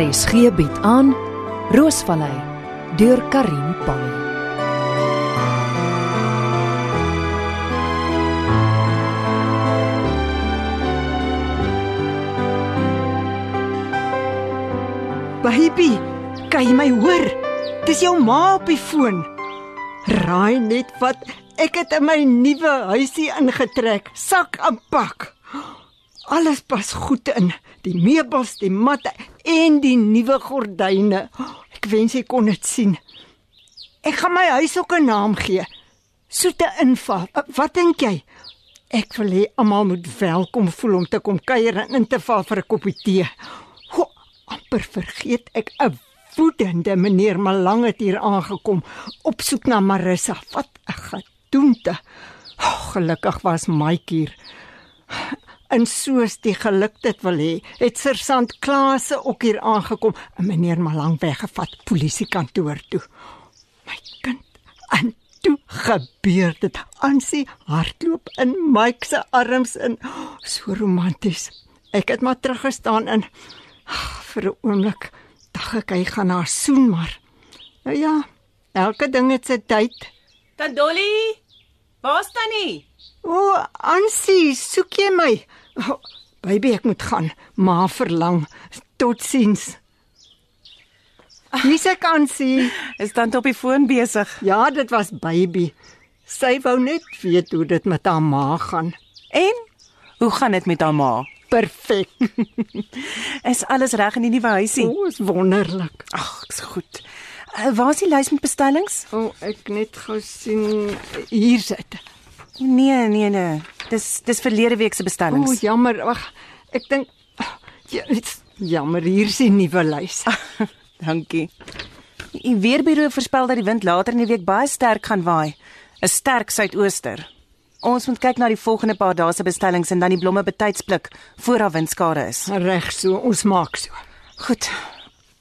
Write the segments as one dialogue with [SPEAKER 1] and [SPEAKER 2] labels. [SPEAKER 1] RSG bied aan Roosvallei deur Karin Pan.
[SPEAKER 2] Baby, kan jy my hoor? Dis jou ma op die foon. Raai net wat ek het in my nuwe huisie ingetrek, sak en pak. Alles pas goed in, die meubels, die matte en die nuwe gordyne. Ek wens jy kon dit sien. Ek gaan my huis ook 'n naam gee. Soete inval. Wat dink jy? Ek wil hê almal moet welkom voel om te kom kuier en in te val vir 'n koppie tee. Ho, amper vergeet ek 'n woedende meneer Malang het hier aangekom op soek na Marissa. Wat 'n gedoente. Oh, gelukkig was Mike hier. En soos die geluk dit wil hê, het sergeant Klase ook hier aangekom en meneer Malang weggevat polisiekantoor toe. My kind, en toe gebeur dit. Ansie hardloop in Mike se arms in. Oh, so romanties. Ek het maar teruggestaan in Ag, vir 'n oomblik dink ek hy gaan haar soen, maar nou ja, elke ding het sy tyd.
[SPEAKER 3] Tandolly? Waar staan nie?
[SPEAKER 2] O, Ansie, soek jy my? Oh, baby, ek moet gaan. Ma verlang. Totsiens. Mis ek Ansie?
[SPEAKER 3] Is tant op die foon besig.
[SPEAKER 2] Ja, dit was baby. Sy wou net weet hoe dit met haar ma gaan.
[SPEAKER 3] En hoe gaan dit met haar ma?
[SPEAKER 2] Perfek.
[SPEAKER 3] Is alles reg in die nuwe huisie?
[SPEAKER 2] O, is wonderlik.
[SPEAKER 3] Ag, ek's goed. Uh, waar is die lys met bestellings?
[SPEAKER 2] O, oh, ek net gou sien hier sit.
[SPEAKER 3] Nee, nee, nee. Dis dis verlede week se
[SPEAKER 2] O,
[SPEAKER 3] bestellings.
[SPEAKER 2] jammer. Wag, ek dink ja, dit's jammer, hier is die nuwe lys.
[SPEAKER 3] dankie. Die weerbureau voorspel dat die wind later in die week baie sterk gaan waai. 'n Sterk suidooster. Ons moet kyk na die volgende paar dae se bestellings en dan die blomme betyds pluk voor daar windskade is.
[SPEAKER 2] Reg so, ons maak so.
[SPEAKER 3] Goed.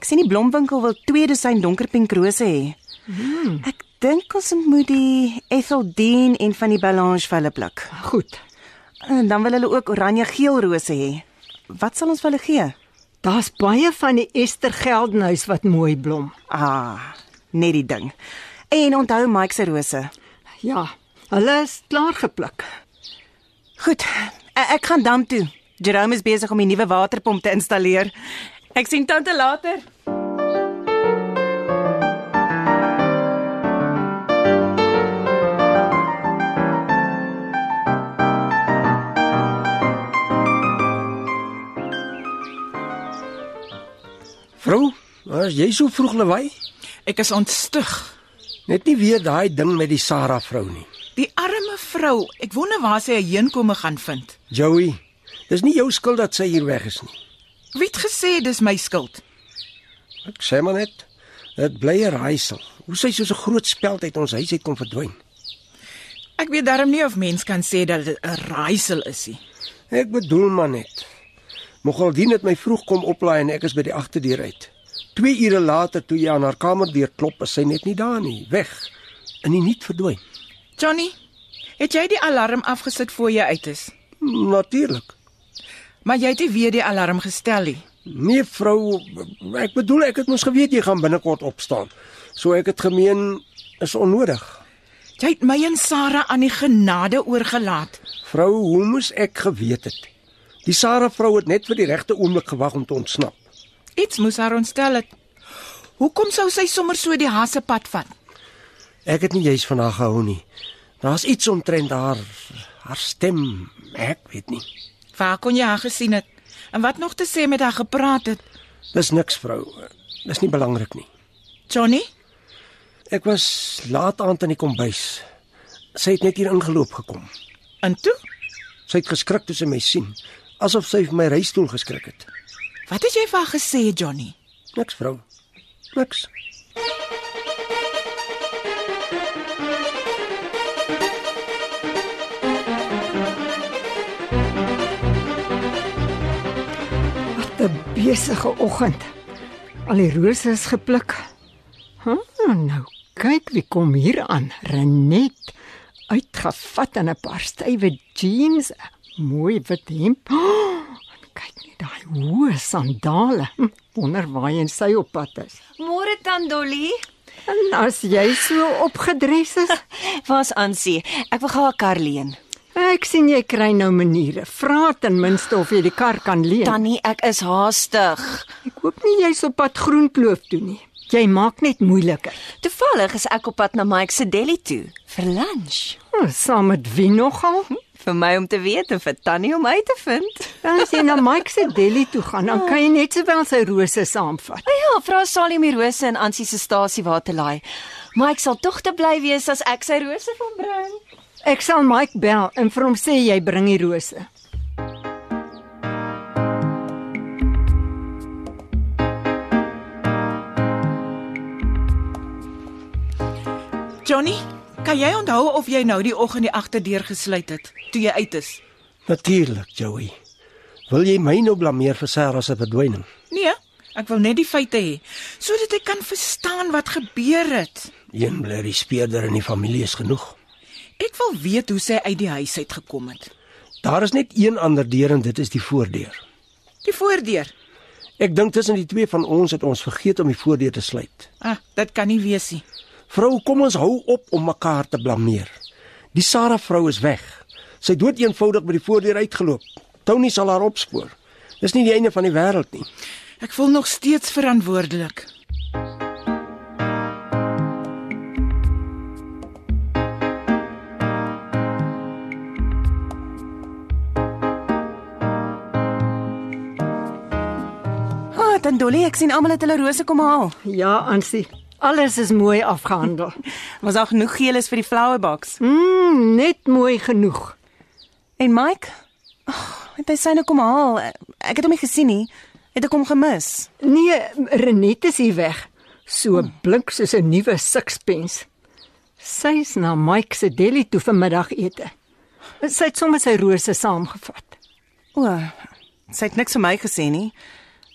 [SPEAKER 3] Ek sien die blomwinkel wil 2 dosyn donkerpink rose hê. Hmm. Ek dink ons moet die Ethel Dean en van die Balance vir hulle pluk.
[SPEAKER 2] Goed.
[SPEAKER 3] En dan wil hulle ook oranje-geel rose hê. Wat sal ons vir hulle gee?
[SPEAKER 2] Daar's baie van die Ester Geldenhuis wat mooi blom.
[SPEAKER 3] Ah, net die ding. En onthou Mike se rose.
[SPEAKER 2] Ja, hulle is klaar gepluk.
[SPEAKER 3] Goed, e- ek gaan dam toe. Jerome is besig om die nuwe waterpomp te installeer. Ek sien tante later.
[SPEAKER 4] Vrou, as jy so vroeg lawaai,
[SPEAKER 5] Ek is ontstig.
[SPEAKER 4] net nie weer daai ding met die Sarah vrou nie.
[SPEAKER 5] Die arme vrou, ek wonder waar sy 'n heenkome gaan vind.
[SPEAKER 4] Joey, dis nie jou skuld dat sy hier weg is nie.
[SPEAKER 5] Wie het gesê dis my skuld?
[SPEAKER 4] Ek sê maar net, dit bly 'n raaisel. Hoe sy soos 'n groot speld uit ons huis uit kon verdwyn.
[SPEAKER 5] Ek weet darm nie of mens kan sê dat dit 'n raaisel is nie.
[SPEAKER 4] Ek bedoel maar net. Mogaldien het my vroeg kom oplaai en ek is by die agterdeur uit. 2 ure later toe jy aan haar kamerdeur klop, is sy net nie daar nie, weg. In die niet verdwyn.
[SPEAKER 5] Johnny, het jy die alarm afgesit voor jy uit is?
[SPEAKER 4] Natuurlik.
[SPEAKER 5] Maar jy het nie weer die alarm gestel nie.
[SPEAKER 4] Nee vrou, ek bedoel ek het mos geweet jy gaan binnekort opstaan. So ek het gemeen is onnodig.
[SPEAKER 5] Jy het my en Sarah aan die genade oorgelaat.
[SPEAKER 4] Vrou, hoe moes ek geweet het? Die Sarah vrou het net vir die regte oomblik gewag om te ontsnap.
[SPEAKER 5] Iets moes haar ontstel het. Hoekom sou sy sommer so die hassepad vat?
[SPEAKER 4] Ek het nie juis van haar gehou nie. Daar's iets omtrent haar haar stem, ek weet nie.
[SPEAKER 5] Waar kon jy haar gesien het? En wat nog te sê met haar gepraat het?
[SPEAKER 4] Dis niks, vrou. Dis nie belangrik nie.
[SPEAKER 5] Johnny?
[SPEAKER 4] Ek was laat aand in die kombuis. Sy het net hier ingeloop gekom.
[SPEAKER 5] En toe?
[SPEAKER 4] Sy het geskrik toe sy my sien, asof sy vir my reistoel geskrik het.
[SPEAKER 5] Wat het jy vir haar gesê, Johnny?
[SPEAKER 4] Niks, vrou. Niks.
[SPEAKER 2] Wat 'n besige oggend. Al die rose is gepluk. Huh, nou kyk wie kom hier aan. Renet uitgevat in 'n paar stywe jeans, 'n mooi wit hemp. Oh, kyk net daai hoë sandale. Hm, Wonder waarheen sy op pad is.
[SPEAKER 6] Môre dan Dolly.
[SPEAKER 2] En as jy so opgedres is,
[SPEAKER 6] Waar's Ansie? Ek wil gou haar kar leen.
[SPEAKER 2] ek sien jy kry nou maniere. Vra ten minste of jy die kar kan leen.
[SPEAKER 6] Tannie, ek is haastig.
[SPEAKER 2] ek hoop nie jy's op pad Groenkloof toe nie. Jy maak net moeiliker.
[SPEAKER 6] Toevallig is ek op pad na Mike se deli toe vir lunch.
[SPEAKER 2] Hm, Saam met wie nogal?
[SPEAKER 6] Vir my om te weet en vir Tannie om uit te vind.
[SPEAKER 2] As jy na Mike se deli toe gaan, dan kan jy net sowel sy rose saamvat.
[SPEAKER 6] O ja, vra Salie om die rose in Ansie se stasie waar te laai. Mike sal tog te bly wees as ek sy rose van bring.
[SPEAKER 2] Ek sal Mike bel en vir hom sê jy bring die rose.
[SPEAKER 5] Johnny, kan jy onthou of jy nou die oggend die agterdeur gesluit het toe jy uit is?
[SPEAKER 4] Natuurlik, Joey. Wil jy my nou blameer vir Sarah se verdwyning?
[SPEAKER 5] Nee, ek wil net die feite hê sodat ek kan verstaan wat gebeur het.
[SPEAKER 4] Een blerrie speerder in die familie is genoeg.
[SPEAKER 5] Ek wil weet hoe sy uit die huis uit gekom het.
[SPEAKER 4] Daar is net een ander deur en dit is die voordeur.
[SPEAKER 5] Die voordeur.
[SPEAKER 4] Ek dink tussen die twee van ons het ons vergeet om die voordeur te sluit.
[SPEAKER 5] Ah, dit kan nie wees nie.
[SPEAKER 4] Vrou, kom ons hou op om mekaar te blameer. Die Sarah vrou is weg. Sy het dood eenvoudig by die voordeur uitgeloop. Tony sal haar opspoor. Dis nie die einde van die wêreld nie.
[SPEAKER 5] Ek voel nog steeds verantwoordelik.
[SPEAKER 3] Ah, dan Dolly, ek sien almal het hulle rose kom haal.
[SPEAKER 2] Ja, Ansie. Alles is mooi afgehandel.
[SPEAKER 3] Was daar genoeg geel is vir die flower box?
[SPEAKER 2] Mm, net mooi genoeg.
[SPEAKER 3] En Mike? Oh, het hy syne kom haal? Ek het hom nie gesien nie. Het ek hom gemis?
[SPEAKER 2] Nee, Renet is hier weg. So blink soos 'n nuwe sixpence. Sy's na Mike se deli toe vir middagete. Sy het sommer sy rose saamgevat.
[SPEAKER 3] O, sy het niks vir my gesê nie.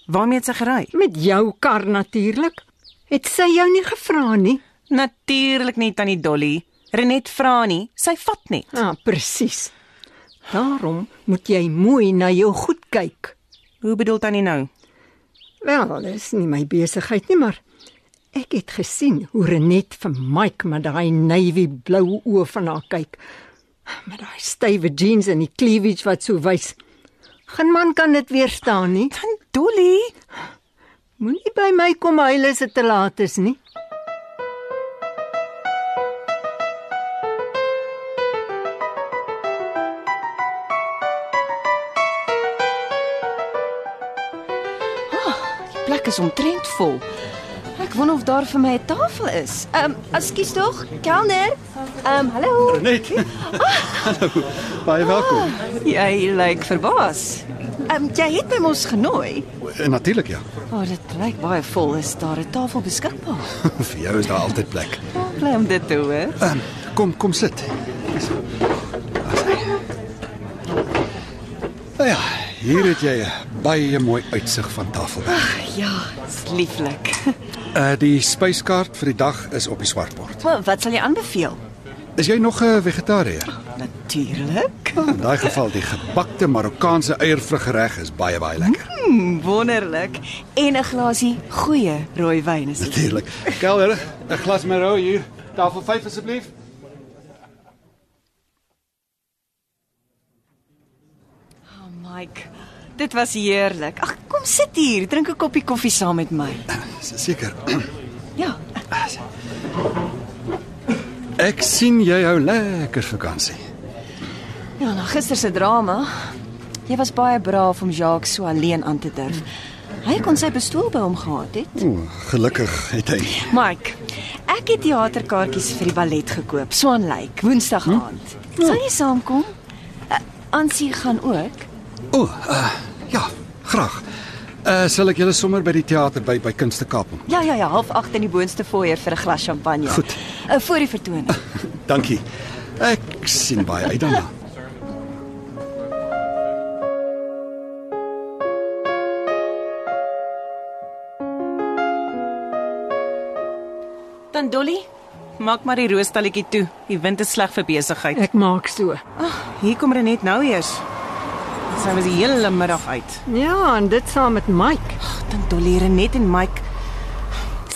[SPEAKER 3] Waarmee het sy gery?
[SPEAKER 2] Met jou kar natuurlik. Het sy jou nie gevra nie?
[SPEAKER 3] Natuurlik nie tannie Dolly. Renet vra nie, sy vat net.
[SPEAKER 2] Ah, presies. Daarom moet jy mooi na jou goed kyk.
[SPEAKER 3] Hoe bedoel tannie nou?
[SPEAKER 2] Wel, dis nie my besigheid nie, maar ek het gesien hoe Renet vir Mike met daai navy blou oë van haar kyk. Met daai stywe jeans en die cleavage wat so wys. Geen man kan dit weerstaan nie.
[SPEAKER 3] Tannie Dolly,
[SPEAKER 2] Moenie by my kom huil as dit te laat is nie.
[SPEAKER 6] Ah, Die plek is omtrent vol. Ek wonder of daar vir my 'n tafel is. Ehm, um, ekskuus tog, kelner. Ehm, um, hallo.
[SPEAKER 7] Net. Hallo. Baie welkom.
[SPEAKER 6] Jy lyk verbaas. Ehm, um, jy het my mos genooi.
[SPEAKER 7] En natuurlik ja.
[SPEAKER 6] O, oh, dit blyk baie vol is daar 'n tafel beskikbaar.
[SPEAKER 7] Vir jou is daar altyd plek.
[SPEAKER 6] Bly om dit te hoor.
[SPEAKER 7] Um, kom, kom sit. Nou ja, hier het jy 'n baie mooi uitsig van Tafelberg.
[SPEAKER 6] Ja, dis lieflik.
[SPEAKER 7] Uh die spyskaart vir die dag is op die swartbord.
[SPEAKER 6] Wel, wat sal jy aanbeveel?
[SPEAKER 7] Is jy nog 'n vegetariër? Ah,
[SPEAKER 6] Natuurlik.
[SPEAKER 7] In daai geval die gebakte Marokkaanse eiervruggereg is baie baie lekker.
[SPEAKER 6] Hmm, wonderlik. En 'n glasie goeie rooi wyn is dit.
[SPEAKER 7] Natuurlik. Kelder, 'n glas Merlot hier. Tafel 5 asseblief.
[SPEAKER 6] Oh, Mike. Dit was heerlik. Ag, kom sit hier, drink 'n koppie koffie saam met my.
[SPEAKER 7] Se- Seker.
[SPEAKER 6] Ja,
[SPEAKER 7] Ek sien jy hou lekker vakansie.
[SPEAKER 6] Ja, na gister se drama. Jy was baie braaf om Jacques so alleen aan te durf. Hy kon sy pistool by hom gehad het.
[SPEAKER 7] O, gelukkig het hy. nie.
[SPEAKER 6] Mike, ek het teaterkaartjies vir die ballet gekoop, Swan Lake, Woensdag aand. Sal jy saamkom? Uh, Ansie gaan ook.
[SPEAKER 7] O, uh, ja, graag. Uh sal ek julle sommer by die teater by by Kunste Kaap ontmoet?
[SPEAKER 6] Ja, ja, ja, half 8 in die boonste foyer vir 'n glas champagne.
[SPEAKER 7] Goed.
[SPEAKER 6] Uh, voor die vertoning.
[SPEAKER 7] Dankie. Ek sien baie uit daarna.
[SPEAKER 3] dan Dolly, maak maar die roostalletjie toe. Die wind is sleg vir besigheid.
[SPEAKER 2] Ek maak so.
[SPEAKER 3] Hier kom Renet nou eers. Sy was die hele middag uit.
[SPEAKER 2] Ja, en dit saam met Mike.
[SPEAKER 3] Ek dink Dolly Renet en Mike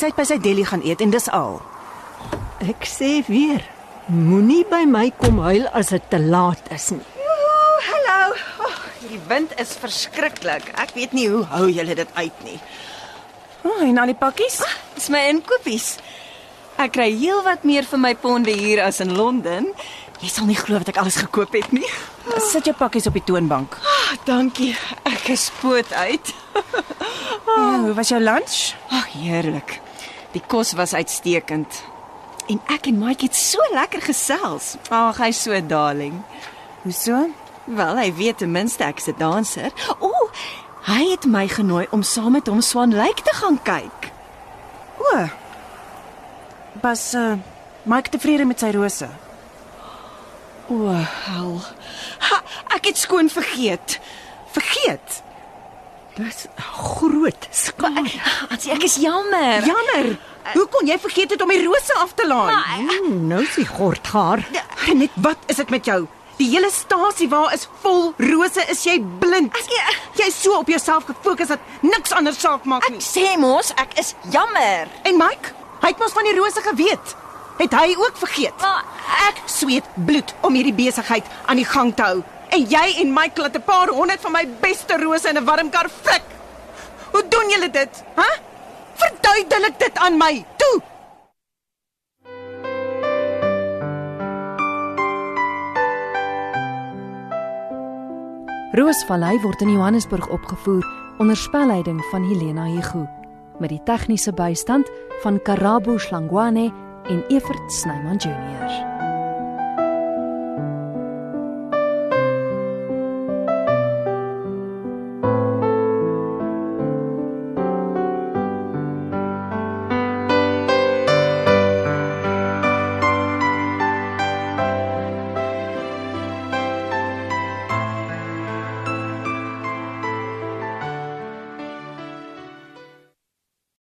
[SPEAKER 3] sy het by sy deli gaan eet en dis al.
[SPEAKER 2] Ek sê weer, moenie by my kom huil as dit te laat is nie.
[SPEAKER 6] Hallo. Oh, hierdie wind is verskriklik. Ek weet nie hoe hou julle dit uit nie.
[SPEAKER 3] O, oh, en al die pakkies?
[SPEAKER 6] Dis my inkopies. Ek kry heelwat meer vir my ponde hier as in Londen. Jy sal nie glo wat ek alles gekoop het nie.
[SPEAKER 3] Sit jou pakkies op die toonbank.
[SPEAKER 6] Ah, dankie. Ek is poot uit.
[SPEAKER 3] Ja, hoe was jou lunch?
[SPEAKER 6] Ag, heerlik. Die kos was uitstekend. En ek en Mike het so lekker gesels. Ag, hy's so darling.
[SPEAKER 3] Hoeso?
[SPEAKER 6] Wel, hy weet ten minste ek's 'n danser. O, hy het my genooi om saam met hom Swan Lake te gaan kyk.
[SPEAKER 3] O. Was uh, Mike tevrede met sy rose?
[SPEAKER 6] O, hel. Ha, ek het skoon vergeet. Vergeet.
[SPEAKER 2] Dis groot skade.
[SPEAKER 6] Ansie, ek is
[SPEAKER 3] Er-
[SPEAKER 6] jammer.
[SPEAKER 3] Jammer. Hoe kon jy vergeet het om die rose af te laai?
[SPEAKER 2] Mm, nou sien gort haar.
[SPEAKER 3] eh, Net wat is dit met jou? Die hele stasie waar is vol rose, is jy blind? Jy's so op jouself gefokus dat niks anders saak maak
[SPEAKER 6] Ek
[SPEAKER 3] nie.
[SPEAKER 6] sê mos, ek is jammer.
[SPEAKER 3] En Mike, hy het mos van die rose geweet. Het hy ook vergeet?
[SPEAKER 6] Maar
[SPEAKER 3] Ek sweet bloed om hierdie besigheid aan die gang te hou. En jy en Mike laat 'n paar honderd van my beste rose in 'n warm kar flik. Hoe doen julle dit? Hæ? Verduidelik dit aan my. Toe.
[SPEAKER 1] Roosvallei word in Johannesburg opgevoer onder spelleiding van Helena Hugo met die tegniese bystand van Karabo Slangwane en Evert Snyman Junior.